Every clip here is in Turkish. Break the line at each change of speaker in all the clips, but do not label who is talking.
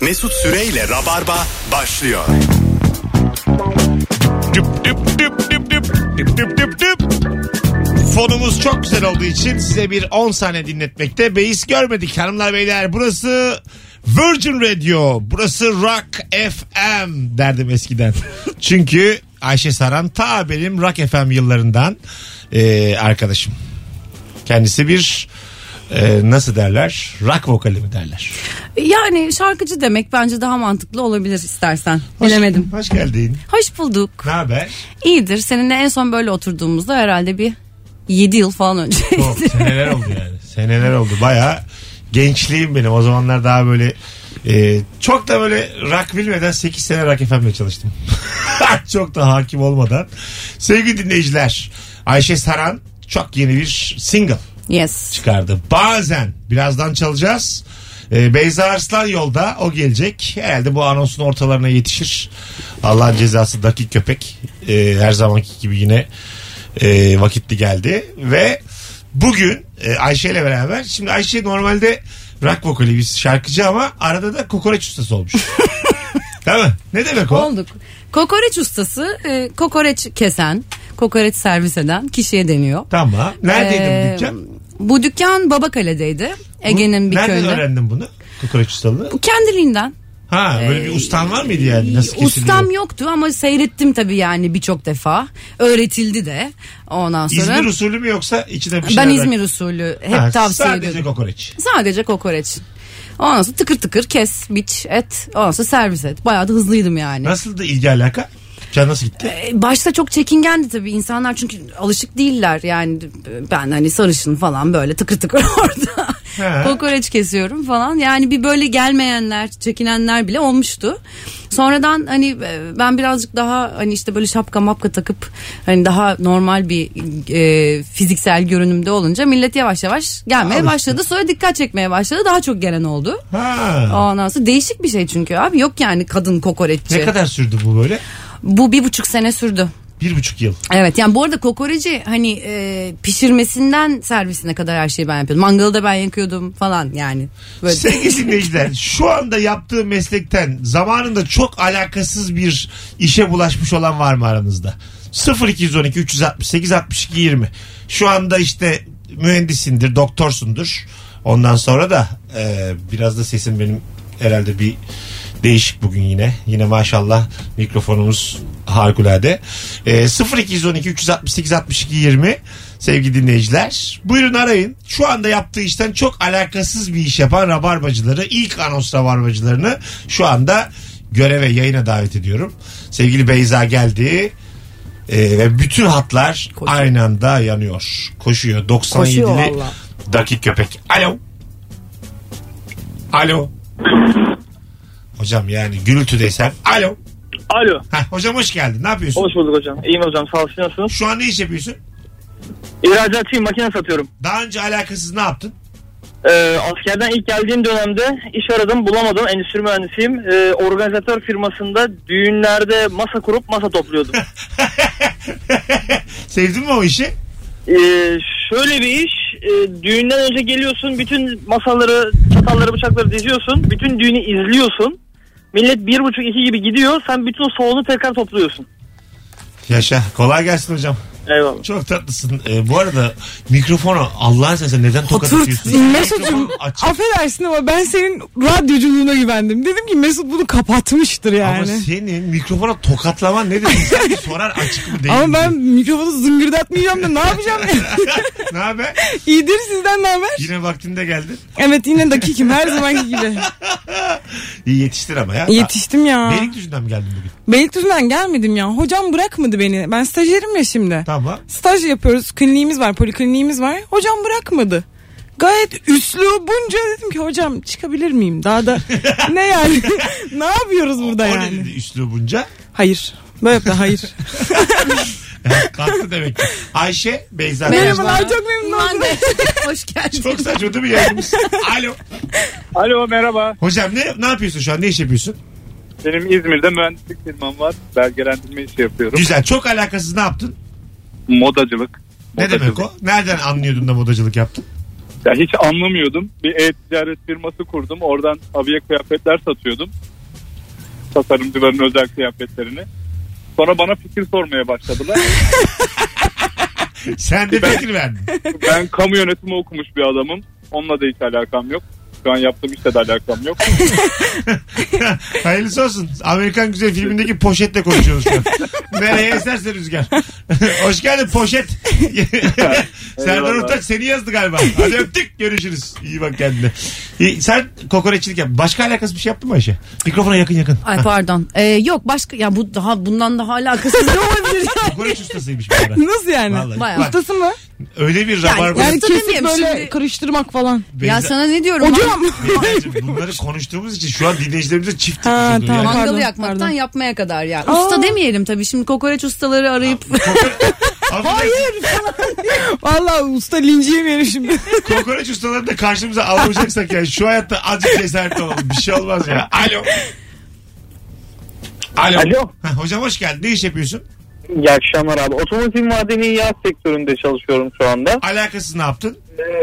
Mesut Süreyle Rabarba başlıyor.
Düp düp düp düp düp düp düp düp düp. Fonumuz çok güzel olduğu için size bir 10 saniye dinletmekte beis görmedik hanımlar beyler. Burası Virgin Radio, burası Rock FM derdim eskiden. Çünkü Ayşe Saran ta benim Rock FM yıllarından e, arkadaşım. Kendisi bir e, nasıl derler? Rock vokali mi derler?
Yani şarkıcı demek bence daha mantıklı olabilir istersen.
Hoş-
Bilemedim.
Hoş geldin.
Hoş bulduk.
Ne haber?
İyidir. Seninle en son böyle oturduğumuzda herhalde bir 7 yıl falan önce.
Çok seneler oldu yani. Seneler oldu. Baya gençliğim benim. O zamanlar daha böyle e, çok da böyle rock bilmeden 8 sene rock FM'de çalıştım. çok da hakim olmadan. Sevgili dinleyiciler Ayşe Saran çok yeni bir single
yes.
çıkardı. Bazen birazdan çalacağız. E, Beyza Arslan yolda o gelecek. Herhalde bu anonsun ortalarına yetişir. Allah'ın cezası dakik köpek. E, her zamanki gibi yine e, vakitli geldi. Ve bugün e, Ayşe ile beraber şimdi Ayşe normalde rock vokali bir şarkıcı ama arada da kokoreç ustası olmuş. Değil mi? Ne demek o?
Olduk. Kokoreç ustası, e, kokoreç kesen, kokoreç servis eden kişiye deniyor.
Tamam. Neredeydi
Ee,
bu dükkan?
Bu dükkan Babakale'deydi. Ege'nin bir
Nereden
köyünde.
öğrendin bunu? Kokoreç ustalığını?
Bu kendiliğinden. E,
Ha böyle bir ustan var mıydı yani? Nasıl kesiliyor?
Ustam yoktu ama seyrettim tabii yani birçok defa. Öğretildi de ondan sonra.
İzmir usulü mü yoksa içine bir şeyler
ben
bırak-
İzmir usulü hep
Ha,
tavsiye
sadece
ediyorum.
kokoreç.
Sadece kokoreç. Ondan sonra tıkır tıkır kes, biç, et. Ondan sonra servis et. Bayağı da hızlıydım yani.
Nasıl da ilgi alaka? Can nasıl gitti?
E, Başta çok çekingendi tabii insanlar çünkü alışık değiller yani ben hani sarışın falan böyle tıkır tıkır orada
He.
kokoreç kesiyorum falan yani bir böyle gelmeyenler çekinenler bile olmuştu. Sonradan hani e, ben birazcık daha hani işte böyle şapka mapka takıp hani daha normal bir e, fiziksel görünümde olunca millet yavaş yavaş gelmeye
Alıştı.
başladı. Sonra dikkat çekmeye başladı. Daha çok gelen oldu.
Ha.
Ondan sonra değişik bir şey çünkü abi yok yani kadın kokoreççi.
Ne kadar sürdü bu böyle?
Bu bir buçuk sene sürdü.
Bir buçuk yıl.
Evet yani bu arada kokoreci hani e, pişirmesinden servisine kadar her şeyi ben yapıyordum. Mangalı da ben yakıyordum falan yani. Böyle.
Sevgili dinleyiciler şu anda yaptığı meslekten zamanında çok alakasız bir işe bulaşmış olan var mı aranızda? 0212 368 62 20 şu anda işte mühendisindir doktorsundur ondan sonra da e, biraz da sesim benim herhalde bir değişik bugün yine yine maşallah mikrofonumuz harikulade e, 0212 368 62 20 sevgili dinleyiciler buyurun arayın şu anda yaptığı işten çok alakasız bir iş yapan rabarbacıları ilk anons rabarbacılarını şu anda göreve yayına davet ediyorum sevgili Beyza geldi E, ve bütün hatlar
Koşuyor.
aynı anda yanıyor koşuyor 97'li
valla.
dakik köpek alo alo hocam yani gürültü desem alo
Alo.
Heh, hocam hoş geldin ne yapıyorsun
Hoş bulduk hocam. İyiyim hocam. Sağ olsun. Nasılsınız?
şu an ne iş yapıyorsun
İhracatçıyım. Makine satıyorum.
daha önce alakasız ne yaptın
Ee, askerden ilk geldiğim dönemde iş aradım. Bulamadım. Endüstri mühendisiyim. Ee, organizatör firmasında düğünlerde masa kurup masa topluyordum.
Sevdin mi o işi?
Ee, şöyle bir iş. e, düğünden önce geliyorsun. Bütün masaları, çatalları, bıçakları diziyorsun. Bütün düğünü izliyorsun. Millet bir buçuk iki gibi gidiyor. Sen bütün o soğunu tekrar topluyorsun.
Yaşa. Kolay gelsin hocam.
Eyvallah.
Çok tatlısın. Ee, bu arada mikrofonu Allah'ın sesi neden tokat
Oturt.
atıyorsun?
Mesut'cum
Mikrofonu aç.
affedersin ama ben senin radyoculuğuna güvendim. Dedim ki Mesut bunu kapatmıştır
Ama
yani.
senin mikrofona tokatlaman ne demek? Sen sorar açık mı değil
Ama,
mi?
ben mikrofonu zıngırdatmayacağım da ne yapacağım?
ne haber?
İyidir sizden ne haber?
Yine vaktinde geldin.
Evet yine dakikim her zamanki gibi.
İyi yetiştir ama ya.
Yetiştim ya.
Beylikdüzü'nden mi geldin bugün?
Beylikdüzü'nden gelmedim ya. Hocam bırakmadı beni. Ben stajyerim ya şimdi.
Tamam.
Staj yapıyoruz. Kliniğimiz var, polikliniğimiz var. Hocam bırakmadı. Gayet üslubunca dedim ki hocam çıkabilir miyim? Daha da ne yani? ne yapıyoruz burada
o ne
yani?
dedi üslubunca?
Hayır. Böyle yaptı hayır.
Kalktı demek ki. Ayşe Beyza.
Merhabalar çok memnun
Aman
oldum.
be, hoş geldin.
Çok saçma değil mi yayınımız? Alo.
Alo merhaba.
Hocam ne, ne yapıyorsun şu an? Ne iş yapıyorsun?
Benim İzmir'de mühendislik firmam var. Belgelendirme işi yapıyorum.
Güzel. Çok alakasız ne yaptın?
Modacılık.
Ne
Modacılık.
demek o? Nereden anlıyordun da modacılık yaptın?
Ya hiç anlamıyordum. Bir e-ticaret firması kurdum. Oradan abiye kıyafetler satıyordum. Tasarımcıların özel kıyafetlerini. Sonra bana fikir sormaya başladılar.
Sen de fikir verdin.
ben kamu yönetimi okumuş bir adamım. Onunla da hiç alakam yok. Şu an yaptığım işle de alakam yok.
Hayırlısı olsun. Amerikan Güzel filmindeki poşetle konuşuyoruz şu an. Nereye eserse rüzgar. Hoş geldin poşet. Serdar
Eyvallah.
Ortaç seni yazdı galiba. Hadi öptük görüşürüz. İyi bak kendine. İyi, sen kokoreççilik yap. Başka alakası bir şey yaptın mı Ayşe? Mikrofona yakın yakın.
Ay pardon. Ee, yok başka ya bu daha bundan daha alakasız ne olabilir ya?
Kokoreç ustasıymış bu ara.
Nasıl yani?
Vallahi.
Bayağı.
Bak,
Ustası mı?
öyle bir rabarba.
Yani
Usta
kesip
demeyeyim
böyle
şimdi.
karıştırmak falan.
Beyza-
ya sana ne diyorum?
Hocam.
Beyzacığım, bunları konuştuğumuz için şu an dinleyicilerimize çift tıkmış
Ha,
oluyor.
tamam.
Yani
Mangalı
Pardon,
yakmaktan
pardon.
yapmaya kadar ya.
Aa.
Usta demeyelim tabii şimdi kokoreç ustaları arayıp
Hayır.
Vallahi usta linci yemeyelim şimdi.
Kokoreç ustalarını da karşımıza almayacaksak yani şu hayatta azıcık cesaretli olalım. Bir şey olmaz ya. Alo. Alo.
Alo.
Ha, hocam hoş geldin. Ne iş yapıyorsun?
İyi akşamlar abi. Otomotiv madeni yağ sektöründe çalışıyorum şu anda.
Alakasız ne yaptın?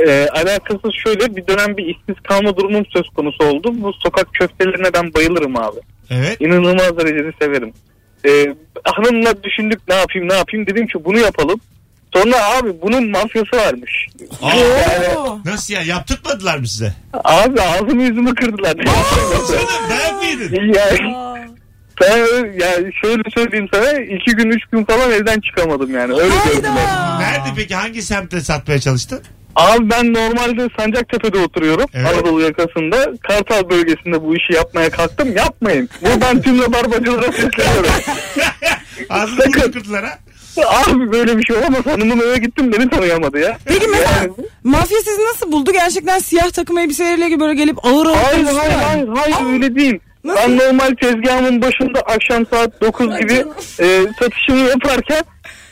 Ee, alakasız şöyle bir dönem bir işsiz kalma durumum söz konusu oldu. Bu sokak köftelerine ben bayılırım abi.
Evet.
İnanılmaz derecede severim. Ee, hanımla düşündük ne yapayım ne yapayım dedim ki bunu yapalım. Sonra abi bunun mafyası varmış.
Aa,
Oo.
nasıl ya? Yaptırtmadılar mı size?
Abi ağzımı yüzümü kırdılar.
Canım ben miydin?
yani, sana öyle- yani şöyle söyleyeyim sana iki gün üç gün falan evden çıkamadım yani. Öyle gördüm ben.
Nerede peki? Hangi semtte satmaya çalıştın?
Abi ben normalde Sancaktepe'de oturuyorum.
Evet.
Anadolu yakasında. Kartal bölgesinde bu işi yapmaya kalktım. Yapmayın. Buradan tüm rabarbacılara sesleniyorum.
Ağzını
Sakın.
burnunu kırdılar ha.
Abi böyle bir şey olamaz. Hanımın eve gittim beni tanıyamadı ya.
Peki mesela
Yani-
mafya sizi nasıl buldu? Gerçekten siyah takım elbiseleriyle böyle gelip ağır ağır
Hayır
konuşuyorlar.
hayır hayır, hayır öyle değil.
Nasıl?
Ben normal tezgahımın başında akşam saat 9 gibi e, satışımı yaparken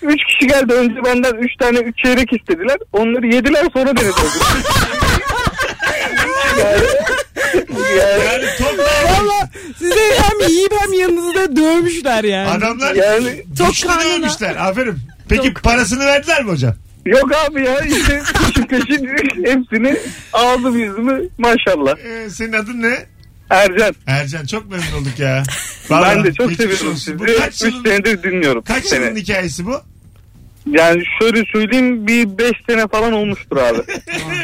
3 kişi geldi önce benden 3 tane 3 çeyrek istediler. Onları yediler sonra beni dövdüler. yani, yani,
Yani top da-
Valla sizi hem yiyip hem yanınızda dövmüşler yani.
Adamlar
yani
Çok
Tok
güçlü
karnına.
dövmüşler. Aferin. Peki parasını verdiler mi hocam?
Yok abi ya işte peşin peşin hepsini ağzım yüzümü maşallah.
Ee, senin adın ne?
Ercan
Ercan çok memnun olduk ya.
ben de çok
geçmiş
seviyorum
olsun.
sizi.
Bu
3
kaç yılın,
senedir dinliyorum.
kaç
seni.
yılın hikayesi bu?
Yani şöyle söyleyeyim bir 5 sene falan olmuştur abi.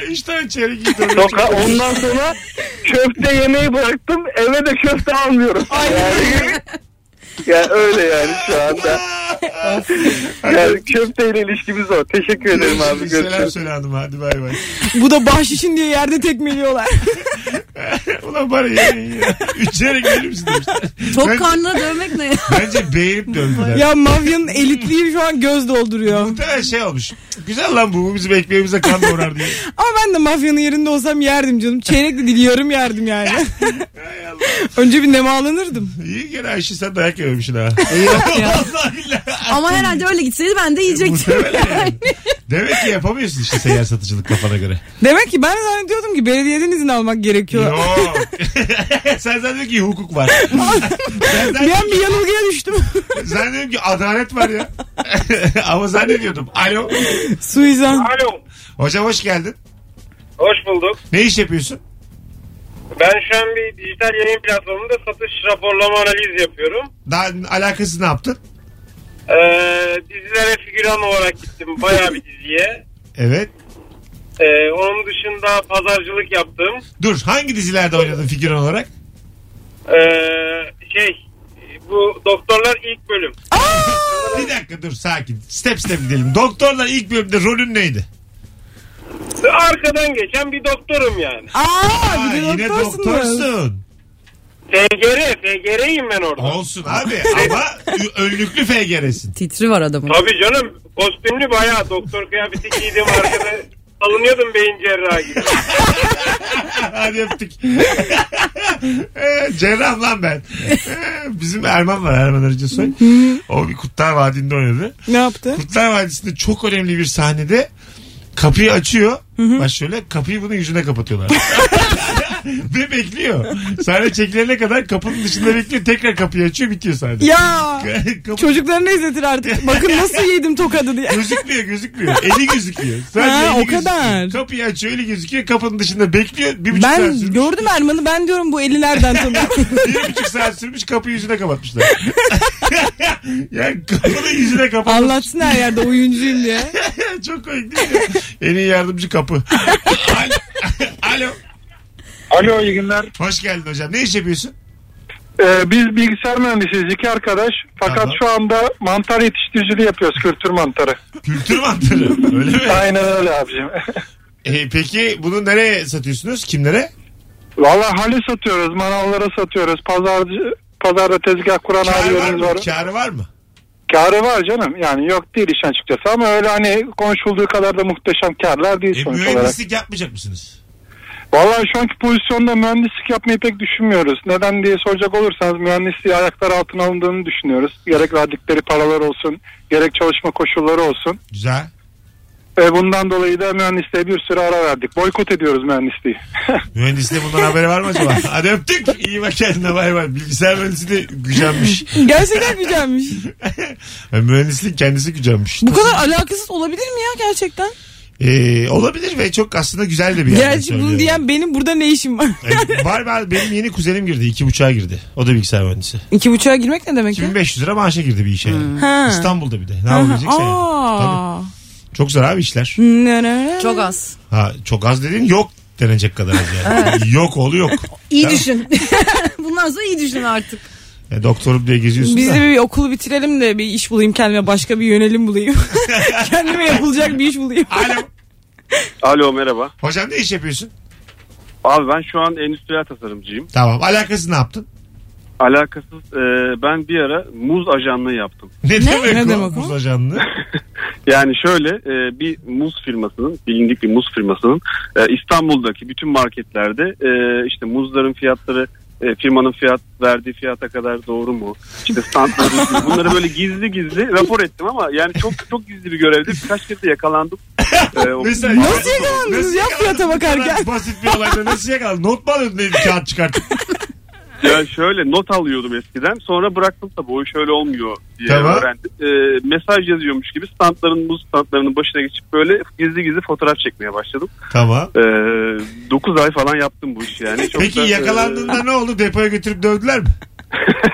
Üç tane çeyrek gitti.
Soka ondan sonra köfte yemeyi bıraktım eve de köfte almıyorum. Yani, yani öyle yani şu anda. Yani köfteyle ilişkimiz o. Teşekkür ederim abi.
Selam
Görüşürüz.
söyle hanıma hadi bay bay.
Bu da bahşişin diye yerde tekmeliyorlar.
Ulan bana yemeği ya. Üç çeyrek verir misin demişler.
tok
Bence-
karnına dövmek ne ya?
Bence beğenip dövdüler.
ya mafyanın elitliği şu an göz dolduruyor.
Muhtemelen şey olmuş. Güzel lan bu. bu Bizim ekmeğimize kan doğrar diye.
Ama ben de mafyanın yerinde olsam yerdim canım. Çeyrek de diliyorum yerdim yani.
Hay Allah.
Önce bir nemalanırdım.
İyi gene Ayşe sen dayak yememişsin ha. Vallahi billahi.
Ama herhalde öyle gitseydi ben de yiyecektim.
Muhtemelen yani. Demek ki yapamıyorsun işte seyyar satıcılık kafana göre.
Demek ki ben zannediyordum ki belediyeden izin almak gerekiyor.
Yok. Sen zannediyorsun ki hukuk var. ben
bir
zannediyorum,
an bir yanılgıya düştüm.
zannediyorum ki adalet var ya. Ama zannediyordum. Alo.
Suizan.
Alo.
Hocam hoş geldin.
Hoş bulduk.
Ne iş yapıyorsun?
Ben şu an bir dijital yayın platformunda satış raporlama analiz yapıyorum.
Daha alakası ne yaptın?
Ee, dizilere figüran olarak gittim bayağı bir diziye.
Evet.
Ee, onun dışında pazarcılık yaptım.
Dur hangi dizilerde oynadın figüran olarak?
Ee, şey bu doktorlar ilk bölüm.
Bir dakika dur sakin. Step step gidelim. Doktorlar ilk bölümde rolün neydi?
Arkadan geçen bir doktorum yani.
Aa,
Aa,
bir de
yine
doktorsunuz.
doktorsun.
FGR, FGR'yim ben orada.
Olsun abi ama ö- önlüklü FGR'sin.
Titri var adamın.
Tabii canım kostümlü bayağı doktor kıyafeti giydim arkada alınıyordum beyin cerrahı gibi.
Hadi öptük. Ee, Cerrah lan ben. Ee, Bizim Erman var Erman Arıcısoy. O bir Kurtlar Vadi'nde oynadı.
Ne yaptı?
Kurtlar Vadisi'nde çok önemli bir sahnede kapıyı açıyor. Bak şöyle kapıyı bunun yüzüne kapatıyorlar. Ve bekliyor. Sahne çekilene kadar kapının dışında bekliyor. Tekrar kapıyı açıyor bitiyor sahne.
Ya
Kapı-
çocuklarına izletir artık. Bakın nasıl yedim tokadı diye.
gözükmüyor gözükmüyor. Eli gözüküyor. Sadece
Ha,
eli
o
gözüküyor.
kadar.
Kapıyı açıyor eli gözüküyor. Kapının dışında bekliyor. Bir buçuk saat
Ben
sürmüş.
gördüm Erman'ı ben diyorum bu eli nereden tanıyor?
Bir buçuk saat sürmüş kapıyı yüzüne kapatmışlar. yani kapını yüzüne kapatmışlar.
Anlatsın her yerde oyuncuyum diye.
Çok komik değil mi? En iyi yardımcı kapı. Alo. Alo.
Alo iyi günler.
Hoş geldin hocam. Ne iş yapıyorsun?
Ee, biz bilgisayar mühendisiyiz iki arkadaş. Fakat
Tamam.
şu anda mantar yetiştiriciliği yapıyoruz kültür mantarı.
Kültür mantarı. Öyle mi?
Aynen öyle abicim.
E, peki bunu nereye satıyorsunuz? Kimlere?
Valla hali satıyoruz, manavlara satıyoruz. Pazarcı, pazarda tezgah kuran
Kârı var
abilerimiz
mı?
var.
Kârı var mı?
Kârı var canım. Yani yok değil işin açıkçası ama öyle hani konuşulduğu kadar da muhteşem kârlar değil
E,
sonuç olarak.
mühendislik yapmayacak mısınız?
Vallahi şu anki pozisyonda mühendislik yapmayı pek düşünmüyoruz. Neden diye soracak olursanız mühendisliği ayaklar altına alındığını düşünüyoruz. Gerek verdikleri paralar olsun, gerek çalışma koşulları olsun.
Güzel.
Ve bundan dolayı da mühendisliğe bir süre ara verdik. Boykot ediyoruz mühendisliği.
Mühendisliğe bundan haberi var mı acaba? Hadi öptük. İyi bak kendine bay bay. Bilgisayar mühendisi de gücenmiş.
Gerçekten güzelmiş.
Yani mühendislik kendisi gücenmiş.
Bu kadar alakasız olabilir mi ya gerçekten?
E, olabilir ve çok aslında güzel de bir yerden
Gerçi bunu
söylüyor.
diyen benim burada ne işim var?
E, var var benim yeni kuzenim girdi. iki buçuğa girdi. O da bilgisayar mühendisi.
İki buçuğa girmek ne demek ya?
2500 lira maaşa girdi bir işe. yani.
Ha.
İstanbul'da bir de. Ne
Aha.
yapabilecekse yani. Tabii.
Aa.
Çok zor abi işler.
Ne, ne, ne?
Çok az.
Ha, çok az dediğin yok denecek kadar az yani. yok oğlu yok.
İyi
Tamam.
düşün. Bundan sonra iyi düşün artık.
Ya, doktorum diye geziyorsun
Biz
da.
de bir okulu bitirelim de bir iş bulayım kendime başka bir yönelim bulayım. kendime yapılacak bir iş bulayım.
Alo.
Alo merhaba.
Hocam ne iş yapıyorsun?
Abi ben şu an endüstriyel tasarımcıyım.
Tamam. Alakası ne yaptın?
Alakasız e, ben bir ara muz ajanlığı yaptım.
Ne, demek
Ne
o?
demek o?
Buz ajanlığı.
Yani şöyle e, bir muz firmasının bilindik bir muz firmasının e, İstanbul'daki bütün marketlerde e, işte muzların fiyatları e, firmanın fiyat verdiği fiyata kadar doğru mu? İşte standları bunları böyle gizli gizli rapor ettim ama yani çok çok gizli bir görevdi. Birkaç kez de yakalandım. E, o-
Mesela-
Nasıl yakalandınız
Nasıl
ya fiyata
yakalandın? Bu kadar
bakarken?
Basit bir olayda nasıl yakalandın? Not mu alıyordun elini kağıt çıkartıp?
Ya şöyle not alıyordum eskiden. Sonra bıraktım tabii o iş öyle olmuyor diye
Tamam.
öğrendim. Ee, mesaj yazıyormuş gibi standların muz standlarının başına geçip böyle gizli gizli fotoğraf çekmeye başladım.
Tamam.
Ee, 9 ay falan yaptım bu işi yani. Çok
Peki
da,
yakalandığında ne oldu? Depoya götürüp dövdüler mi?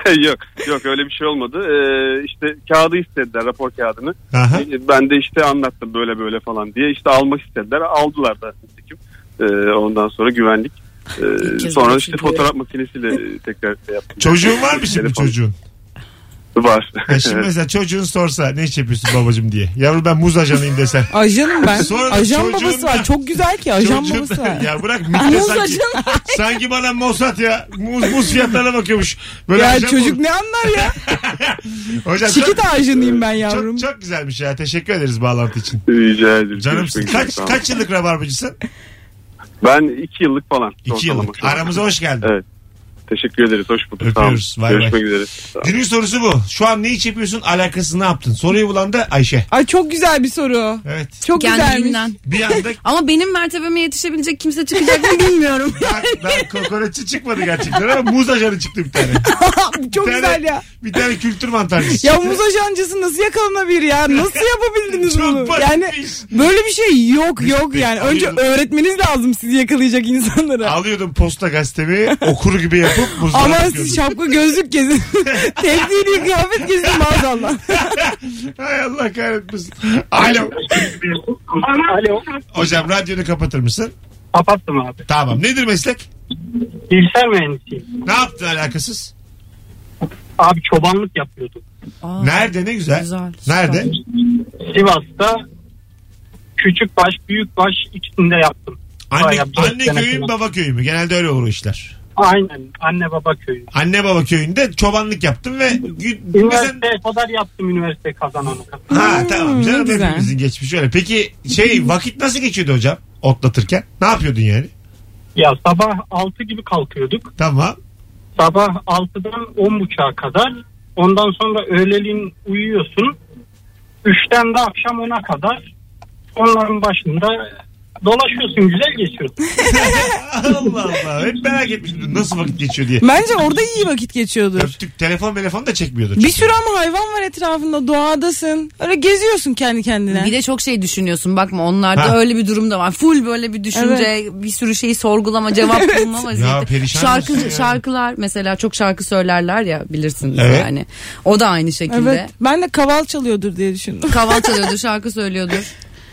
e, yok yok öyle bir şey olmadı. Ee, işte kağıdı istediler rapor kağıdını.
Aha.
Ee, Ben de işte anlattım böyle böyle falan diye. İşte almak istediler. Aldılar da nitekim. Ee, ondan sonra güvenlik. Ee,
İlk kez
sonra
böyle
işte
bir şey
fotoğraf makinesiyle tekrar şey yaptım.
Çocuğun var mı şimdi
Telefon.
çocuğun?
Var.
Ya şimdi mesela çocuğun sorsa ne iş yapıyorsun babacım diye. Yavrum ben muz ajanıyım desen.
Ajanım ben.
Sonra da
Ajan
çocuğun
babası
da-
var. Çok güzel ki ajan
Çocuğun-
babası var.
Ya bırak mikro
Muz
sanki.
ajanı.
sanki bana Mossad ya. Muz, muz fiyatlarına bakıyormuş. Böyle
Ya
ajan
çocuk
olur.
ne anlar ya?
Hocam çok,
Çikit ajanıyım ben yavrum.
çok, çok güzelmiş ya. Teşekkür ederiz bağlantı için.
Rica ederim.
Canımsın.
Görüşmek üzere,
Kaç,
sağ olun.
kaç yıllık rabarbacısın?
Ben 2 yıllık falan.
2
ortalama
yıllık.
şu an.
Aramıza hoş geldin.
Evet. Teşekkür ederiz. Hoş bulduk. Sağ olun.
Öpüyoruz, bay bay.
Görüşmek üzere. Sağ olun.
Günün sorusu bu. Şu an ne iş yapıyorsun? Alakası ne yaptın? Soruyu bulan da Ayşe.
Ay çok güzel bir soru.
Evet.
Çok güzelmiş.
Kendiliğinden.
Bir anda
Ama benim mertebeme yetişebilecek kimse çıkacak mı bilmiyorum.
daha, daha kokoreççi çıkmadı gerçekten ama muz ajanı çıktı bir tane.
çok
Bir tane-
güzel ya.
Bir tane kültür mantarcısı.
Ya muz ajancısı nasıl yakalanabilir ya? Nasıl yapabildiniz
Çok
bunu?
basit
Yani
bir iş.
böyle bir şey yok yok yani. Önce
Alıyordum.
öğretmeniz lazım sizi yakalayacak insanlara.
Alıyordum posta gazetemi okur gibi yapıp muzlara
Aman
bakıyordum.
siz şapka gözlük gezin. Tebdili kıyafet gezin maazallah.
Hay Allah kahretmesin. Alo.
Alo.
Hocam radyonu kapatır mısın?
Kapattım abi.
Tamam. Nedir meslek?
Bilgisayar mühendisiyim.
Ne yaptın alakasız?
Abi çobanlık yapıyordum.
Aa,
Nerede ne güzel.
Güzel, süper.
Nerede?
Sivas'ta küçük baş büyük baş ikisinde yaptım.
Anne,
Bayağı bir
anne
sene
köyü mü
falan.
baba köyü mü? Genelde öyle olur o işler.
Aynen anne baba köyü.
Anne baba köyünde çobanlık yaptım ve gü- mesela-
Üniversiteye kadar yaptım üniversite kazanana kadar.
Ha
Hmm,
tamam canım
ne güzel. Hmm.
hepimizin geçmişi öyle. Peki şey vakit nasıl geçiyordu hocam otlatırken? Ne yapıyordun yani?
Ya sabah 6 gibi kalkıyorduk.
Tamam.
Sabah 6'dan 10.30'a kadar. Ondan sonra öğleliğin uyuyorsun. 3'ten de akşam 10'a kadar. Onların başında
dolaşıyorsun güzel geçiyorsun.
Allah Allah. Hep merak etmiştim nasıl vakit geçiyor diye.
Bence orada iyi vakit geçiyordur.
Öptük. Telefon telefon da çekmiyordur.
Bir sürü ama hayvan var etrafında doğadasın. Öyle geziyorsun kendi kendine.
Bir de çok şey düşünüyorsun bakma onlarda
Ha.
öyle bir durum da var. Full böyle bir düşünce, bir sürü şeyi sorgulama, cevap bulma
Ya
vaziyeti.
perişan
Şarkı
mısın ya?
şarkılar mesela çok şarkı söylerler ya bilirsiniz
Evet.
yani. O da aynı şekilde.
Evet. Ben de kaval çalıyordur diye düşündüm.
Kaval çalıyordur, şarkı söylüyordur.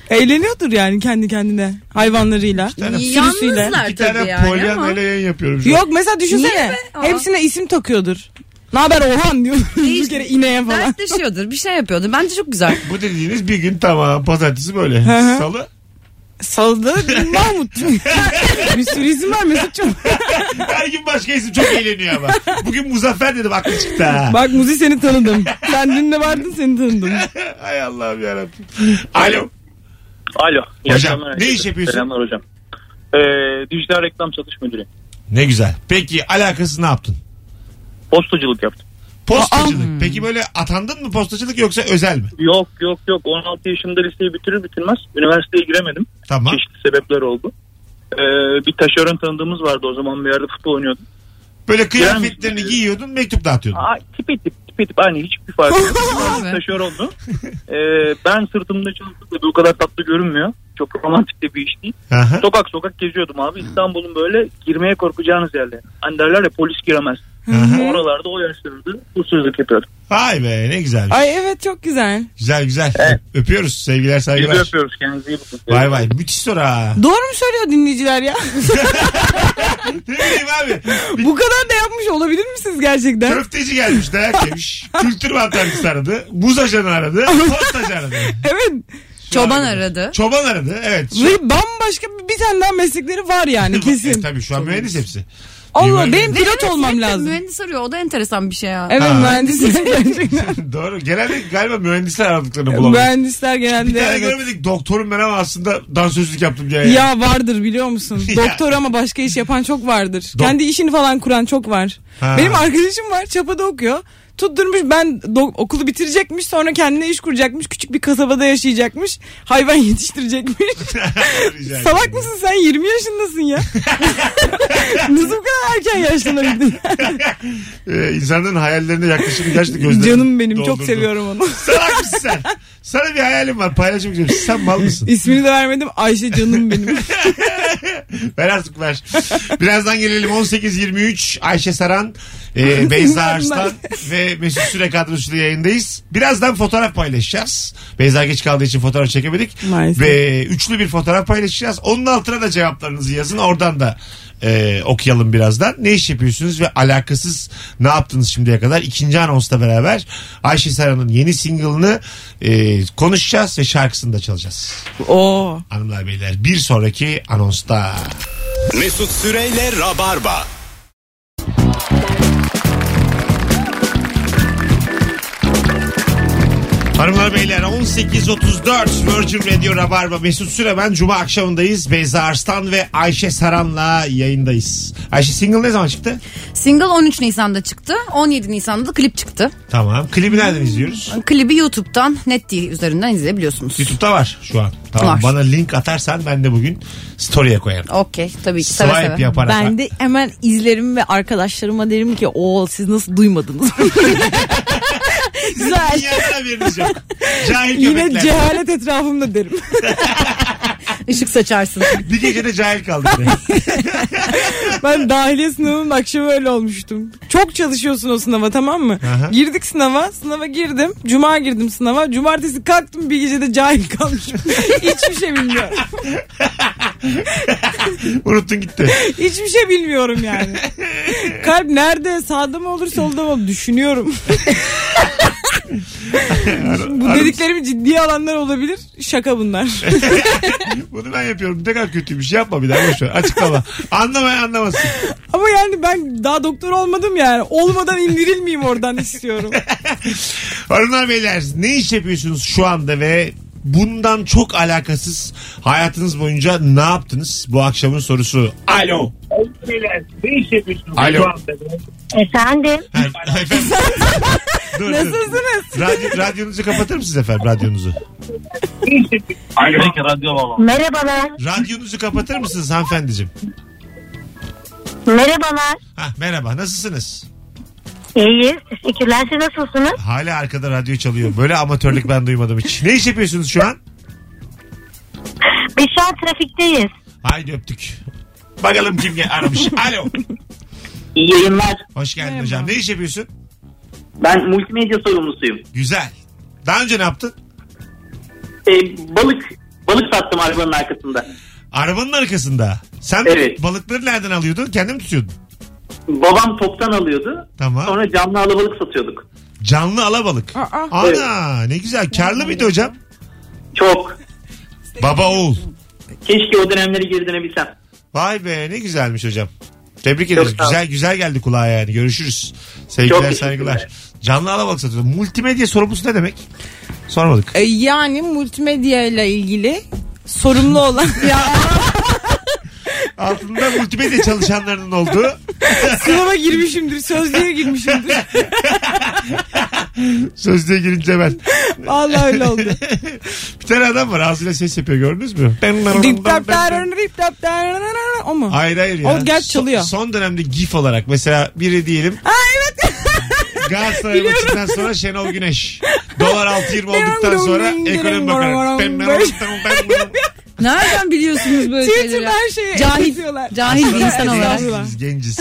Eğleniyordur yani kendi kendine hayvanlarıyla.
tane-
Sürüsüyle.
Yalnızlar
İki tane
tabii yani ama.
polyanayla yayın yapıyorum şu an.
Yok mesela
Niye
düşünsene.
be? Aa.
Hepsine isim takıyordur. Ne haber Orhan diyor. bir kere ineğe falan.
Dertleşiyordur, bir şey yapıyordur. Bence çok güzel.
Bu dediğiniz bir gün tamam. Pazartesi böyle.
hı.
Salı.
Saldı Mahmut. bir sürü isim var Mesut'cum.
Her gün başka isim çok eğleniyor ama. Bugün Muzaffer dedim aklı çıktı ha.
Bak Muzi seni tanıdım. Sen dün de vardın seni tanıdım.
Hay Allah'ım yarabbim. Alo.
Alo. iyi
Hocam,
akşamlar
ne iş
herkese.
yapıyorsun?
Selamlar hocam. Ee, dijital reklam satış müdürü.
Ne güzel. Peki alakası ne yaptın?
Postacılık yaptım.
Postacılık.
hmm.
Peki böyle atandın mı postacılık yoksa özel mi?
Yok yok yok 16 yaşımda liseyi bitirir bitirmez üniversiteye giremedim.
Tamam.
Çeşitli sebepler oldu. Ee, bir taşeron tanıdığımız vardı o zaman bir yerde futbol oynuyordum.
Böyle kıyafetlerini giyiyordun mektup dağıtıyordun.
Aa, tip etip tip etip aynı hiçbir fark yok.
Evet.
taşerondu. Ee, ben sırtımda çalıştık da o kadar tatlı görünmüyor. Çok romantik de bir iş değil.
Aha.
Sokak sokak geziyordum abi. İstanbul'un böyle girmeye korkacağınız yerler. Hani derler ya polis giremez. Oralarda o yaşlarda hırsızlık yapıyordum.
Vay be ne güzel.
Ay evet çok güzel.
Güzel güzel. Öpüyoruz. Sevgiler
Biz
saygılar.
de öpüyoruz kendinize iyi bakın.
Vay vay müthiş soru ha.
Doğru mu söylüyor dinleyiciler ya?
ne bileyim abi. Bir
Bu kadar da yapmış olabilir misiniz gerçekten?
köfteci gelmiş dayak yemiş. Kültür mantarlısı aradı. Buz ajanı aradı. Postacı aradı.
Evet.
Çoban aradı.
Çoban aradı. Evet. Şu-
Ve bambaşka bir- bir tane daha meslekleri var yani
E,
kesin.
tabii şu an mühendis hepsi.
Allah
Güvenli.
benim pilot
Evet,
olmam
evet,
lazım.
Mühendis arıyor. O da enteresan bir şey ya.
Evet
Ha.
mühendisim gerçekten.
Doğru. Genelde galiba mühendisler aradıklarını bulamıyor.
Mühendisler
Bir
genelde.
tane
evet.
göremedik. Doktorum ben ama aslında dansözlük yaptım diye.
Ya vardır biliyor musun?
Ya.
Doktor ama başka iş yapan çok vardır.
Dok-
Kendi işini falan kuran çok var.
Ha.
Benim arkadaşım var çapada okuyor. Tutturmuş ben do- okulu bitirecekmiş sonra kendine iş kuracakmış. Küçük bir kasabada yaşayacakmış. Hayvan yetiştirecekmiş.
Rica
Salak
ederim.
mısın sen 20 yaşındasın ya. Nasıl bu kadar erken yaşlanabildin?
Ee, insanların hayallerine yaklaşımı gerçekten gözlerim
Canım benim çok
doldurdu.
seviyorum onu.
Salak mısın sen? Sana bir hayalim var paylaşmak istiyorum. Sen mal mısın?
İsmini de vermedim Ayşe canım benim.
Ver artık ver. Birazdan gelelim 18.23 Ayşe Saran, e, Beyza Arslan ve Mesut Süre kadrosuyla yayındayız. Birazdan fotoğraf paylaşacağız. Beyza geç kaldığı için fotoğraf çekemedik.
Maalesef.
Ve üçlü bir fotoğraf paylaşacağız. Onun altına da cevaplarınızı yazın. Oradan da e, okuyalım birazdan. Ne iş yapıyorsunuz ve alakasız ne yaptınız şimdiye kadar? İkinci anonsla beraber Ayşe Saran'ın yeni single'ını e, konuşacağız ve şarkısını da çalacağız.
Oo.
Hanımlar beyler bir sonraki anonsta.
Mesut Süreyle Rabarba.
Hanımlar beyler 18.34 Virgin Radio Rabarba Mesut Süre ben Cuma akşamındayız. Beyza Arslan ve Ayşe Saran'la yayındayız. Ayşe single ne zaman çıktı?
Single 13 Nisan'da çıktı. 17 Nisan'da da klip çıktı.
Tamam. Klibi nereden izliyoruz?
Klibi YouTube'dan Netty üzerinden izleyebiliyorsunuz.
YouTube'da var şu an. Tamam
Var.
bana link atarsan ben de bugün story'e koyarım.
Okey tabii ki seve
Swipe
seve.
yaparak.
Ben de hemen izlerim ve arkadaşlarıma derim ki o siz nasıl duymadınız? Güzel.
Dünyadan haberiniz yok. Cahil
Yine
köpekler.
cehalet etrafımda derim.
Işık saçarsın.
Bir gecede cahil kaldık. be.
Ben dahiliye sınavının akşamı öyle olmuştum. Çok çalışıyorsun o sınava tamam mı?
Aha.
Girdik sınava. Sınava girdim. Cuma girdim sınava. Cumartesi kalktım bir gecede cahil kalmışım. Hiçbir şey bilmiyorum.
Unuttun gitti.
Hiçbir şey bilmiyorum yani. Kalp nerede? Sağda mı olur solda mı olur? Düşünüyorum. Bu dediklerim ciddi alanlar olabilir. Şaka bunlar.
Bunu ben yapıyorum. Ne kadar kötüymüş. Yapma bir daha. Boş ver. Açıklama. Anlamayan anlamasın.
Ama yani ben daha doktor olmadım yani. Olmadan indirilmeyeyim oradan istiyorum.
Hanımlar beyler ne iş yapıyorsunuz şu anda ve bundan çok alakasız hayatınız boyunca ne yaptınız? Bu akşamın sorusu. Alo.
Ne iş yapıyorsunuz
Alo.
şu anda?
Efendim.
Ha, efendim. Dur, dur.
Nasılsınız?
Radyo, radyonuzu kapatır mısınız efendim radyonuzu?
Alo. Peki radyo baba.
Merhabalar.
Radyonuzu kapatır mısınız hanımefendiciğim?
Merhabalar.
Ha, merhaba nasılsınız?
İyiyiz. Teşekkürler. Siz nasılsınız?
Hala arkada radyo çalıyor. Böyle amatörlük ben duymadım hiç. Ne iş yapıyorsunuz şu an?
Biz şu an trafikteyiz.
Haydi öptük. Bakalım kim gel- aramış. Alo.
İyi yayınlar.
Hoş geldin
Merhaba.
hocam. Ne iş yapıyorsun?
Ben multimedya sorumlusuyum.
Güzel. Daha önce ne yaptın?
Ee, balık balık sattım arabanın arkasında.
Arabanın arkasında. Sen
Evet.
balıkları nereden alıyordun? Kendin mi tutuyordun?
Babam toptan alıyordu.
Tamam.
Sonra camlı alabalık satıyorduk.
Canlı alabalık.
Aa.
Ana ne güzel. Karlı mıydı hocam?
Çok.
Baba oğul.
Keşke o dönemleri geri dönebilsem.
Vay be ne güzelmiş hocam. Tebrik ederiz.
sağ ol.
Güzel güzel geldi kulağa yani. Görüşürüz. Sevgiler
Çok
saygılar.
teşekkürler.
Canlı alabalık satıyordu. Multimedya sorumlusu ne demek? Sormadık.
E, yani multimedya ile ilgili sorumlu olan ya
Altında multimedya çalışanlarının olduğu
sınava girmişimdir sözlüğe girmişimdir
sözlüğe girince ben.
vallahi öyle oldu
Bir tane adam var ağzıyla ses yapıyor gördünüz mü?
Dip dap darın, dip dap darın, darın. o mu
Hayır hayır ya.
O gel çalıyor.
Son, son dönemde gif olarak mesela biri diyelim.
ha evet
Galatasaray
Biliyorum.
maçından sonra Şenol Güneş. Dolar 6.20 olduktan
Ding
sonra
dong ding
ekonomi
ding
bakanı.
dong
Ben- ben-
dong.
ben- ben-
Nereden biliyorsunuz böyle şeyleri?
Twitter'da her şeyi
Cahil.
yazıyorlar.
Cahil bir insan
Estağfurullah.
olarak.
Estağfurullah.
Biz genciz.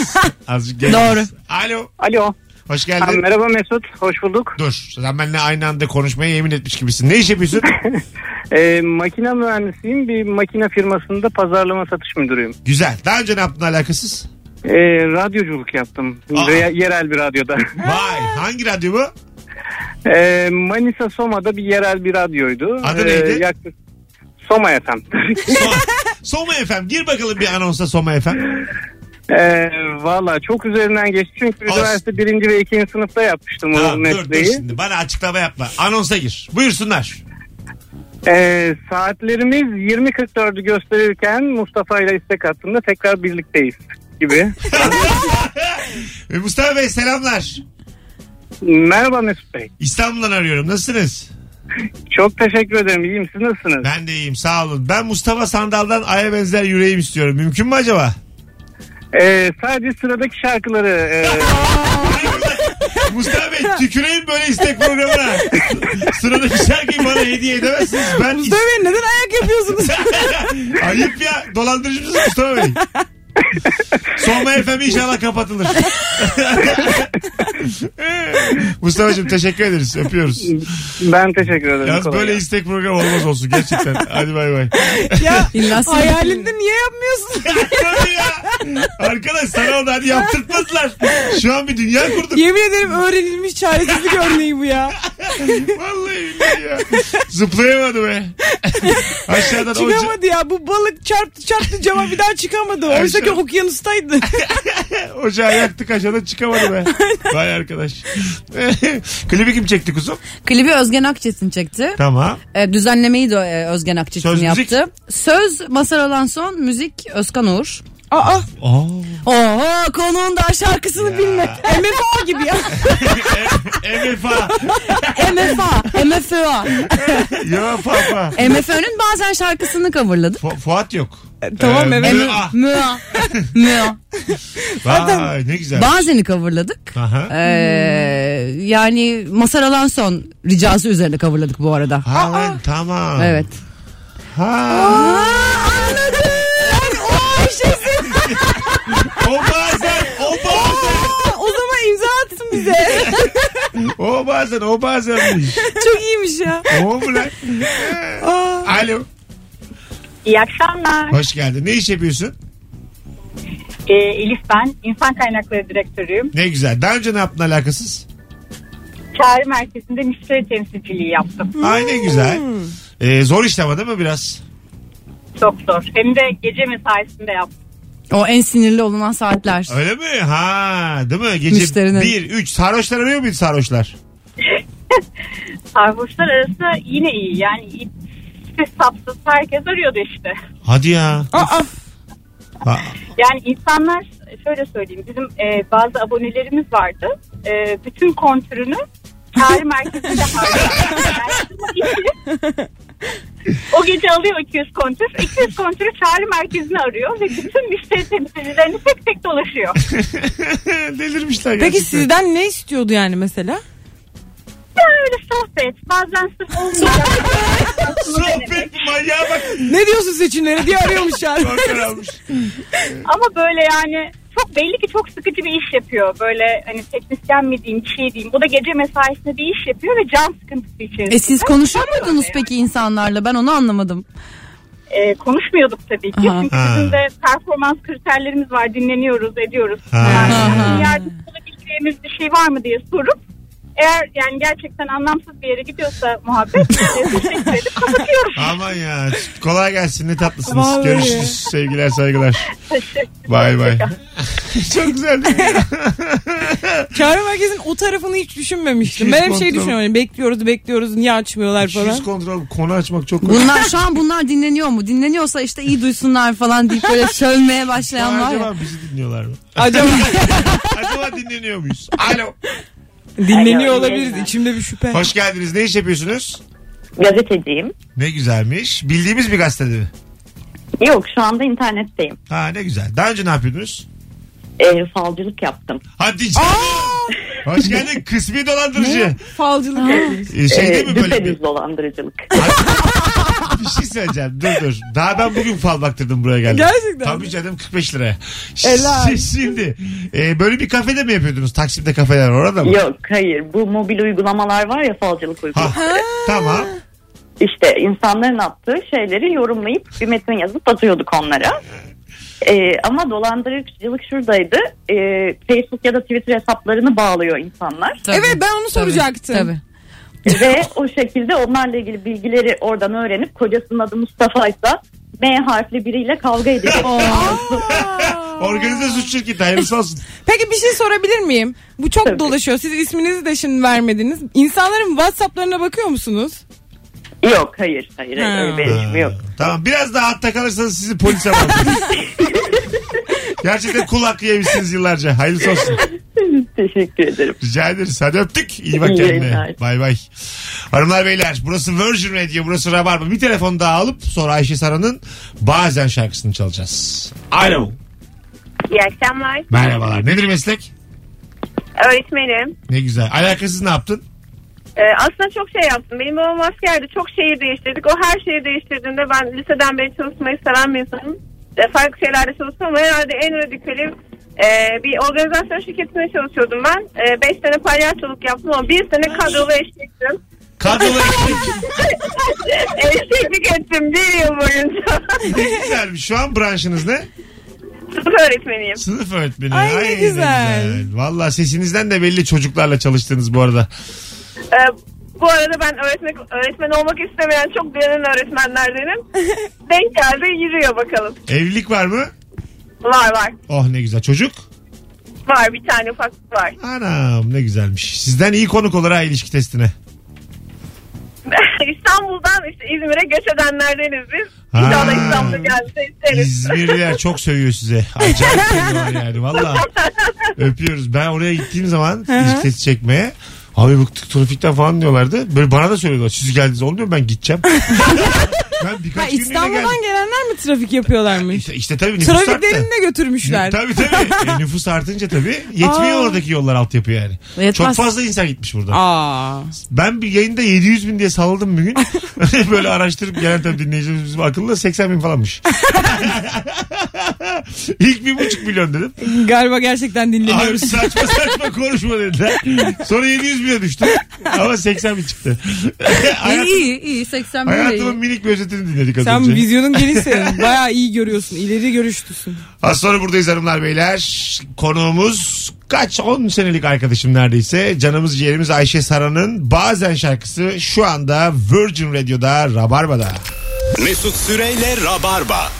Azıcık genciz.
Doğru.
Alo.
Alo.
Hoş geldin.
merhaba Mesut. Hoş bulduk.
Dur. Sen benimle aynı anda konuşmaya yemin etmiş gibisin. Ne iş yapıyorsun?
E, makine mühendisiyim. Bir makine firmasında pazarlama satış müdürüyüm. E,
Güzel. Daha önce ne yaptın alakasız?
radyoculuk yaptım.
Aa. Re-
yerel bir radyoda.
Vay. Hangi radyo bu?
Ee, Manisa Soma'da bir yerel bir radyoydu. Ee,
Adı neydi?
Yaklaşık Soma FM.
So- Soma FM. Gir bakalım bir anonsa Soma FM.
ee, Valla çok üzerinden geçti çünkü
Olsun.
üniversite birinci ve ikinci sınıfta yapmıştım o
Tamam, dur, dur
mesleği.
şimdi. Bana açıklama yapma. Anonsa gir. Buyursunlar.
Ee, saatlerimiz 20.44'ü gösterirken Mustafa ile istek hattında tekrar birlikteyiz gibi.
Ve E, Mustafa Bey selamlar.
Merhaba Mesut Bey.
İstanbul'dan arıyorum. Nasılsınız?
Çok teşekkür ederim. İyiyim siz nasılsınız?
Ben de iyiyim. Sağ olun. Ben Mustafa Sandal'dan Ay'a benzer yüreğim istiyorum. Mümkün mü acaba?
Ee, sadece sıradaki şarkıları e,
Mustafa Bey tüküreyim böyle istek programına. Sıradaki şarkıyı bana hediye edemezsiniz. Ben
Mustafa Bey neden ayak yapıyorsunuz?
Ayıp ya. Dolandırıcı mısın Mustafa Bey? Sonma FM inşallah kapatılır. Mustafa'cığım teşekkür ederiz. Öpüyoruz.
ben teşekkür ederim.
Yalnız
Kolay
böyle
gelsin.
istek programı olmaz olsun gerçekten. Hadi bay bay.
ya
İlla sinir-
hayalinde niye yapmıyorsun?
Tabii ya. Arkadaş sana onu hadi yaptırtmadılar. Şu an bir dünya kurduk.
Yemin ederim öğrenilmiş çaresizlik örneği bu ya.
Vallahi billahi ya. Zıplayamadı be. Aşağıdan o ca-
Çıkamadı ya. Bu balık çarptı çarptı cama bir daha çıkamadı. Oysa ki
Ayşe-
okyanustaydı.
ocağı yaktık aşağıdan çıkamadı be. Vay arkadaş. Klibi kim çekti kuzum?
Klibi Özgen Akçetin çekti.
Tamam.
E, düzenlemeyi de e, Özgen Akçetin
Söz,
yaptı.
müzik?
Söz Masar Alanson, müzik Özkan Uğur.
Aa
Oo.
Oho konuğun daha şarkısını bilmek.
MFA gibi ya.
E, MFA.
MFA, MFA.
Ya papa.
MFÖ'nün bazen şarkısını coverladı.
Fu- Fuat yok.
E,
E,
tamam, evet.
MFA.
Mua, mua.
Vay ne güzel.
Bazeni coverladık.
Aha.
Ee, Hmm. yani Masar Alanson ricası üzerine coverladık bu arada.
Ha, ben- tamam.
Evet.
Ha.
anladım. o
şey
şeysin.
O bazen, o bazen,
o zaman imza atsın bize.
o bazen, o bazenmiş.
Çok iyiymiş ya.
O mu lan?
Aa.
Alo.
İyi akşamlar.
Hoş geldin. Ne iş yapıyorsun?
Ee, Elif ben. İnsan Kaynakları Direktörüyüm.
Ne güzel. Daha önce ne yaptın alakasız?
Çağrı Merkezi'nde müşteri temsilciliği yaptım.
Ay ne güzel. Ee, zor iş ama değil mi biraz?
Çok zor. Hem de gece mesaisinde yaptım.
O en sinirli olunan saatler.
Öyle mi? Ha, değil mi? Gece
Müşterinin.
1 3 sarhoşlar arıyor muydu sarhoşlar?
Sarhoşlar arası yine iyi. Yani ipsiz sapsız herkes arıyordu işte.
Hadi ya.
Aa.
Ha,
Yani insanlar şöyle söyleyeyim bizim e, bazı abonelerimiz vardı. E, bütün kontürünü çağrı merkezinde harcıyor. o gece alıyor 200 kontür. 200 kontürü çağrı merkezine arıyor ve bütün müşteri temsilcilerini tek tek dolaşıyor.
Delirmişler
Peki
gerçekten.
sizden ne istiyordu yani mesela?
Ya öyle sohbet. Bazen sırf olmayacak.
Sohbet manyağa bak.
Ne diyorsun seçimlere diye arıyormuşlar.
Korkar almış.
Ama böyle yani çok belli ki çok sıkıcı bir iş yapıyor. Böyle hani teknisyen mi diyeyim, şey diyeyim. Bu da gece mesaisinde bir iş yapıyor ve can sıkıntısı içerisinde.
E siz konuşur
Tabii
muydunuz
öyle
peki insanlarla? Ben onu anlamadım.
e, konuşmuyorduk tabii ki.
Aha.
Çünkü
Ha.
bizim de performans kriterlerimiz var. Dinleniyoruz, ediyoruz.
Ha.
Yani
Aha.
yardımcı olabileceğimiz bir şey var mı diye sorup eğer yani gerçekten anlamsız bir yere gidiyorsa muhabbet e, teşekkür edip kapatıyoruz.
Aman ya. Kolay gelsin. Ne tatlısınız.
Vallahi.
Görüşürüz. Sevgiler saygılar. Bay bay. Çok güzel değil mi? ya?
Çağrı merkezin o tarafını hiç düşünmemiştim.
Hiç
Ben hep şey
kontrol.
düşünüyorum. Bekliyoruz bekliyoruz niye açmıyorlar falan.
Yüz kontrol konu açmak çok kolay.
Bunlar şu an bunlar dinleniyor mu? Dinleniyorsa işte iyi duysunlar falan deyip böyle sövmeye başlayan var ya.
Acaba bizi dinliyorlar mı?
Acaba
Acaba dinleniyor muyuz? Alo.
dinleniyor
Alo,
olabiliriz.
yayınlar.
İçimde bir şüphe.
Hoş geldiniz. Ne iş yapıyorsunuz?
Gazeteciyim.
Ne güzelmiş. Bildiğimiz bir gazetede mi?
Yok şu anda internetteyim.
Ha ne güzel. Daha önce ne yapıyordunuz?
Ee, falcılık yaptım.
Hadi canım. Hoş geldin. Kısmi dolandırıcı.
Falcılık yapıyoruz.
Ee, şey değil
Ee,
mi böyle bir...
düpedüz dolandırıcılık.
bir şey söyleyeceğim. Dur dur. Daha ben bugün fal baktırdım buraya geldim.
Gerçekten
Tabii
mi?
canım 45 liraya.
Helal.
Şimdi e, böyle bir kafede mi yapıyordunuz? Taksim'de kafeler orada mı?
Yok hayır bu mobil uygulamalar var ya falcılık
Ha,
uygulaması.
tamam.
İşte insanların attığı şeyleri yorumlayıp bir metin yazıp atıyorduk onlara. Ee, ama dolandırıcılık şuradaydı. Ee, Facebook ya da Twitter hesaplarını bağlıyor insanlar.
Tabii,
Evet, ben onu soracaktım.
Tabii.
Ve o şekilde onlarla ilgili bilgileri oradan öğrenip kocasının adı Mustafa ise M harfli biriyle kavga edecek.
Organize suç şirketi hayırlısı olsun.
Peki bir şey sorabilir miyim? Bu çok
Tabii.
dolaşıyor. Siz isminizi de şimdi vermediniz. İnsanların WhatsApp'larına bakıyor musunuz?
Yok hayır hayır
Ha.
öyle bir erişim yok.
Ha, Ee, Tamam biraz daha hatta kalırsanız sizi polise bağlarız. Gerçekten kul hakkı yemişsiniz yıllarca. Hayırlısı olsun.
Teşekkür ederim.
Rica ederiz. Hadi öptük. İyi bak
İyi
kendine.
yayınlar.
Bay bay. Hanımlar beyler burası Virgin Radio burası Rabarba. Bir telefon daha alıp sonra Ayşe Sara'nın bazen şarkısını çalacağız. Alo.
İyi akşamlar.
Merhabalar. Nedir meslek?
Öğretmenim.
Ne güzel. Alakasız ne yaptın?
aslında çok şey yaptım. Benim babam askerdi. Çok şehir değiştirdik. O her şehri değiştirdiğinde ben liseden beri çalışmayı seven bir insanım. E, farklı şeylerde çalıştım ama herhalde en radikali bir organizasyon şirketinde çalışıyordum ben. 5 sene palyaçoluk yaptım ama bir sene kadrolu eşliktim.
Kadrolu ekmek.
Eşeklik ettim bir yıl boyunca.
Ne güzelmiş. Şu an branşınız ne?
Sınıf öğretmeniyim.
Sınıf öğretmeni.
Ay ne güzel.
Valla sesinizden de belli çocuklarla çalıştınız bu arada.
Ee, bu arada ben öğretmen, öğretmen olmak istemeyen çok dayanan öğretmenlerdenim. Denk geldi yürüyor bakalım.
Evlilik var mı?
Var var.
Oh ne güzel. Çocuk?
Var bir tane ufak var.
Anam ne güzelmiş. Sizden iyi konuk olur ha ilişki testine.
İstanbul'dan işte İzmir'e göç edenlerdeniz biz.
Ha.
İnşallah İstanbul'a gelse isteriz.
İzmirliler çok sövüyor size. Acayip sövüyorlar yani valla. Öpüyoruz. Ben oraya gittiğim zaman ilişki testi çekmeye. Abi bıktık trafikten falan diyorlardı. Böyle bana da söylüyorlar. Siz geldiniz olmuyor ben gideceğim. ben birkaç
Ha,
günlüğüne
İstanbul'dan
geldim.
gelenler mi trafik yapıyorlarmış?
İşte, işte tabii nüfus arttı.
Trafiklerini de götürmüşler.
Tabii tabii. E, nüfus artınca tabii yetmiyor
Aa.
oradaki yollar altyapı yani. Çok
Yetmez.
fazla insan gitmiş burada.
Aa.
Ben bir yayında 700 bin diye salladım bir gün. Böyle araştırıp gelen tabii dinleyicilerimiz bizim akıllı 80 bin falanmış. İlk bir buçuk milyon dedim.
Galiba gerçekten
Abi
dinleniyoruz.
saçma saçma konuşma dediler. Sonra 700 bine düştü. Ama 80 bin çıktı. Hayat,
iyi iyi iyi 80 bin de iyi.
hayatımın minik bir özetini dinledik az
Sen
önce.
vizyonun genişsin. Bayağı iyi görüyorsun. ileri görüşlüsün.
Az sonra buradayız hanımlar beyler. Konuğumuz kaç 10 senelik arkadaşım neredeyse. Canımız ciğerimiz Ayşe Sara'nın bazen şarkısı şu anda Virgin Radio'da Rabarba'da.
Mesut Süreyle Rabarba.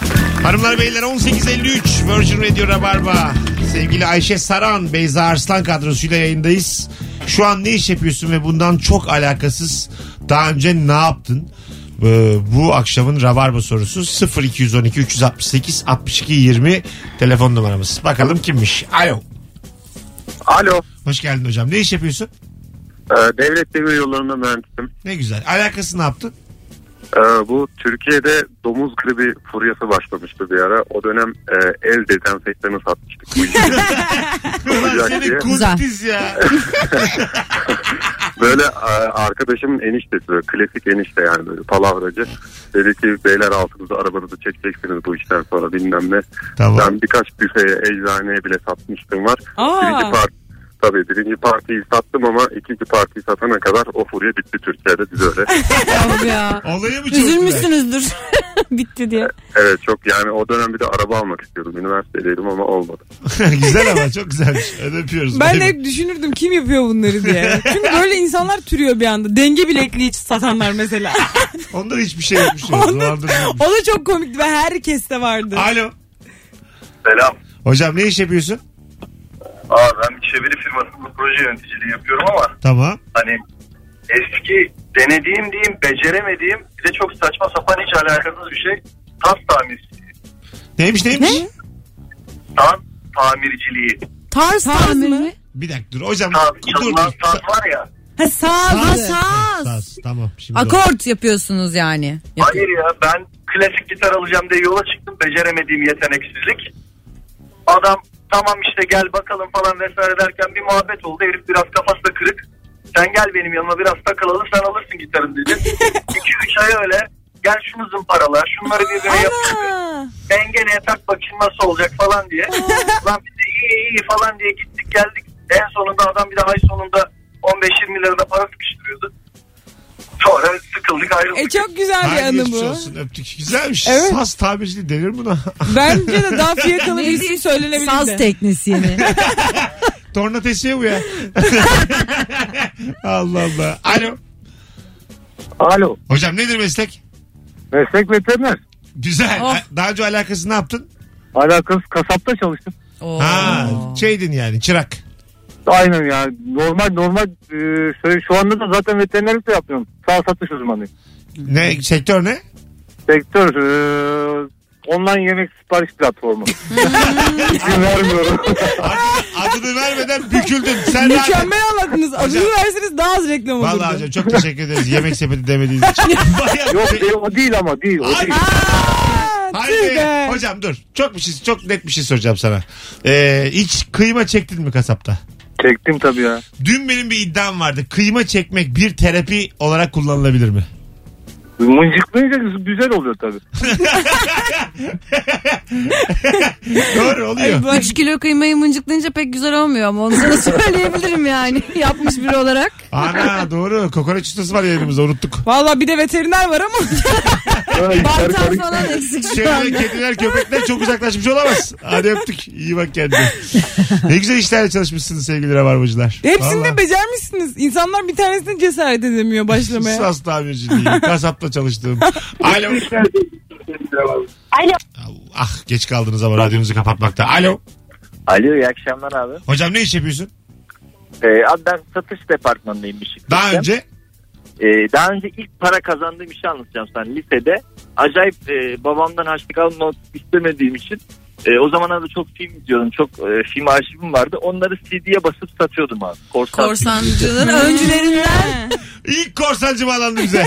Hanımlar beyler 18.53 Virgin Radio Rabarba. Sevgili Ayşe Saran, Beyza Arslan kadrosuyla yayındayız. Şu an ne iş yapıyorsun ve bundan çok alakasız daha önce ne yaptın? Ee, bu akşamın Rabarba sorusu 0212 368 62 20 telefon numaramız. Bakalım kimmiş? Alo.
Alo.
Hoş geldin hocam. Ne iş yapıyorsun?
Ee, devlet demir yollarında mühendisim.
Ne güzel. Alakası ne yaptın?
Ee, bu Türkiye'de domuz gribi furyası başlamıştı bir ara. O dönem e, el dezenfektanı satmıştık. Bu işi olacak diye.
Kuntiz ya.
Böyle e, arkadaşımın eniştesi böyle klasik enişte yani böyle palavracı. Dedi ki beyler altınızı arabanızı çekeceksiniz bu işten sonra bilmem ne.
Tamam.
Ben birkaç büfeye eczaneye bile satmıştım var.
Aa.
Birinci parti Tabii birinci partiyi sattım ama ikinci partiyi satana kadar o furya bitti Türkiye'de biz öyle.
ya.
Olayı
mı çok
Üzülmüşsünüzdür. Bitti diye.
Evet çok yani o dönem bir de araba almak istiyordum. Üniversitedeydim ama olmadı.
güzel ama çok güzelmiş. Hadi öpüyoruz.
Ben
Bay
de
bay.
hep düşünürdüm kim yapıyor bunları diye. Çünkü böyle insanlar türüyor bir anda. Denge bilekliği satanlar mesela.
Onlar hiçbir şey yapmış yok. Dolandırılmamış.
o da çok komikti ve herkeste vardı.
Alo.
Selam.
Hocam ne iş yapıyorsun?
Aa, ben bir çeviri firmasında proje yöneticiliği yapıyorum ama
Tamam.
hani eski denediğim diyeyim beceremediğim bir de çok saçma sapan hiç alakasız bir şey tas tamir.
Neymiş neymiş?
Tan tamirciliği.
Tarz, tarz mı?
Bir dakika dur hocam. dur, dur.
Çalınan tas var ya.
Ha saz. Ha,
Saz.
saz.
Saz. Tamam. Şimdi
Akort yapıyorsunuz yani.
Hayır ya ben klasik gitar alacağım diye yola çıktım beceremediğim yeteneksizlik. Adam tamam işte gel bakalım falan vesaire derken bir muhabbet oldu. Herif biraz kafası da kırık. Sen gel benim yanıma biraz takılalım sen alırsın gitarını dedi. 2-3 ay öyle gel şunu zımparala şunları birbirine yapıştır. Ben gene tak bakayım nasıl olacak falan diye. Lan biz de iyi iyi falan diye gittik geldik. En sonunda adam bir de ay sonunda 15-20 lirada para sıkıştırıyordu. Sonra sıkıldık ayrıldık.
E çok güzel bir
Hayır,
anı
geçmiş
bu.
olsun öptük. Güzelmiş.
Evet.
Saz tabirciliği denir buna.
Bence de daha fiyakalı bir
Neydi?
isim söylenebilirdi.
Saz teknisyeni.
Torna tesiye bu ya. Allah Allah. Alo.
Alo.
Hocam nedir meslek?
Meslek veteriner.
Güzel.
Oh.
Daha önce alakası ne yaptın?
Alakası kasapta çalıştım.
Oh.
Ha, şeydin yani çırak.
Aynen ya. Normal normal e, şöyle şu anda da zaten veterinerlik de yapıyorum. Sağ satış uzmanıyım.
Ne sektör ne?
Sektör e, online yemek sipariş platformu. İzin vermiyorum.
Adını vermeden büküldün. Sen de-
Mükemmel anlattınız. Adını
Hocam-
verseniz daha az reklam olurdu.
Vallahi hocam çok teşekkür ederiz. Yemek sepeti demediğiniz için. Bayağı- şey-
Yok değil, o değil ama değil. O değil.
Hayır be. Hocam dur. Çok bir şey, çok net bir şey soracağım sana. Ee, hiç kıyma çektin mi kasapta?
Çektim tabii ya.
Dün benim bir iddiam vardı. Kıyma çekmek bir terapi olarak kullanılabilir mi?
Mıncıklayınca güzel oluyor tabii.
Doğru oluyor.
3 kilo kıymayı mıncıklayınca pek güzel olmuyor ama onu sana söyleyebilirim yani yapmış biri olarak.
Ana doğru. Kokoreç ustası var yanımızda unuttuk.
Vallahi bir de veteriner var ama.
Bartan falan eksik şu
Şöyle
anda.
kediler köpekler çok uzaklaşmış olamaz. Hadi öptük. İyi bak kendine. Ne güzel işlerle çalışmışsınız sevgili rabarbacılar.
Hepsini
Vallahi.
de becermişsiniz. İnsanlar bir tanesini cesaret edemiyor başlamaya.
Sas tamirciliği. Kasapta çalıştığım. Alo.
Alo.
Ah geç kaldınız ama radyonuzu kapatmakta. Alo.
Alo iyi akşamlar abi.
Hocam ne iş yapıyorsun?
Ee, abi ben satış departmanındayım bir şirkette.
Daha önce?
Ee, daha önce ilk para kazandığım işi anlatacağım sana lisede. Acayip e, babamdan harçlık almak istemediğim için e, o zamanlarda çok film izliyordum. Çok e, film arşivim vardı. Onları CD'ye basıp satıyordum abi. Korsan
Korsancının öncülerinden.
İlk korsancı bağlandı bize.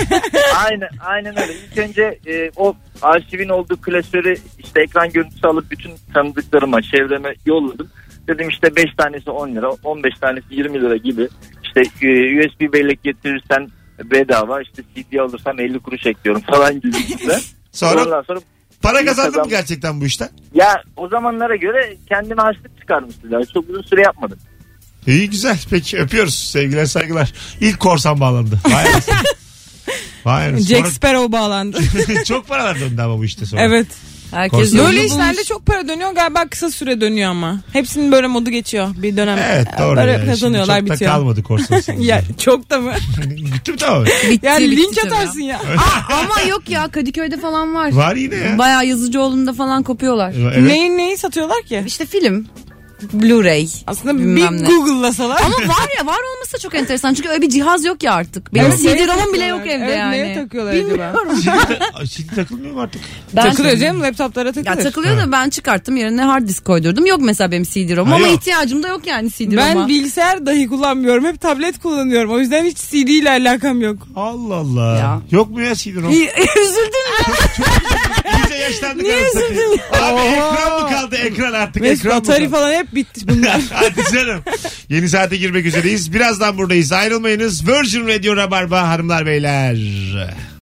aynen, aynen öyle. İlk önce e, o arşivin olduğu klasörü işte ekran görüntüsü alıp bütün tanıdıklarıma, çevreme yolladım. Dedim işte 5 tanesi 10 lira, 15 tanesi 20 lira gibi. İşte e, USB bellek getirirsen bedava, işte CD alırsam 50 kuruş ekliyorum falan gibi.
Sonra-
Ondan sonra
Para
bir
kazandın mı
kazan-
gerçekten bu işten?
Ya o zamanlara göre kendime harçlık çıkarmıştım. Yani çok uzun süre yapmadım.
İyi güzel. Peki öpüyoruz. Sevgiler saygılar. İlk korsan bağlandı. Vay anasını. Vay anasını.
Jack
Sonra-
Sparrow bağlandı.
çok paralar döndü ama bu işte sonra.
evet.
Herkes yolunu
böyle
bulmuş.
işlerde çok para dönüyor galiba kısa süre dönüyor ama. Hepsinin böyle modu geçiyor bir dönem. Ee,
Evet doğru.
Para
yani. Şimdi
kazanıyorlar
çok
bitiyor.
da kalmadı korsansın.
Ya çok da mı?
Bitti mi tamam?
ya
bitti
linç
tabii
atarsın ya.
Aa, ama yok ya Kadıköy'de falan var.
Var yine ya.
Bayağı Yazıcıoğlu'nda falan kopuyorlar.
Evet. Neyi-
neyi satıyorlar ki?
İşte film.
Blu-ray. Aslında
şey bilmem ne. Ama var ya var olması da çok enteresan. Çünkü öyle bir cihaz yok ya artık. Benim
Evet, neye
CD-ROM'um bile yok
takıyorlar?
evde
Evet,
yani.
neye takıyorlar acaba?
Bilmiyorum.
Şimdi, şimdi takılmıyor mu artık?
Takılıyor canım laptoplara
Ya
takılıyor.
takılıyor da ben çıkarttım yerine hard disk koydurdum. Yok mesela benim CD-ROM'um
Ha,
ama
yok.
ihtiyacım da yok yani CD-ROM'a.
Ben bilgisayar dahi kullanmıyorum. Hep tablet kullanıyorum. O yüzden hiç CD ile alakam yok.
Allah Allah. Yok mu ya CD-ROM?
Üzüldüm.
İyice yaşlandık
Niye
anasını
üzüldün
satayım.
ya?
Abi
Oha.
ekran mı kaldı? Ekran artık
Mesut
ekran mı
Atari
kaldı?
falan hep bitti bunlar.
Hadi canım. Yeni saate girmek üzereyiz. Birazdan buradayız. Ayrılmayınız. Virgin Radio Rabarba hanımlar beyler.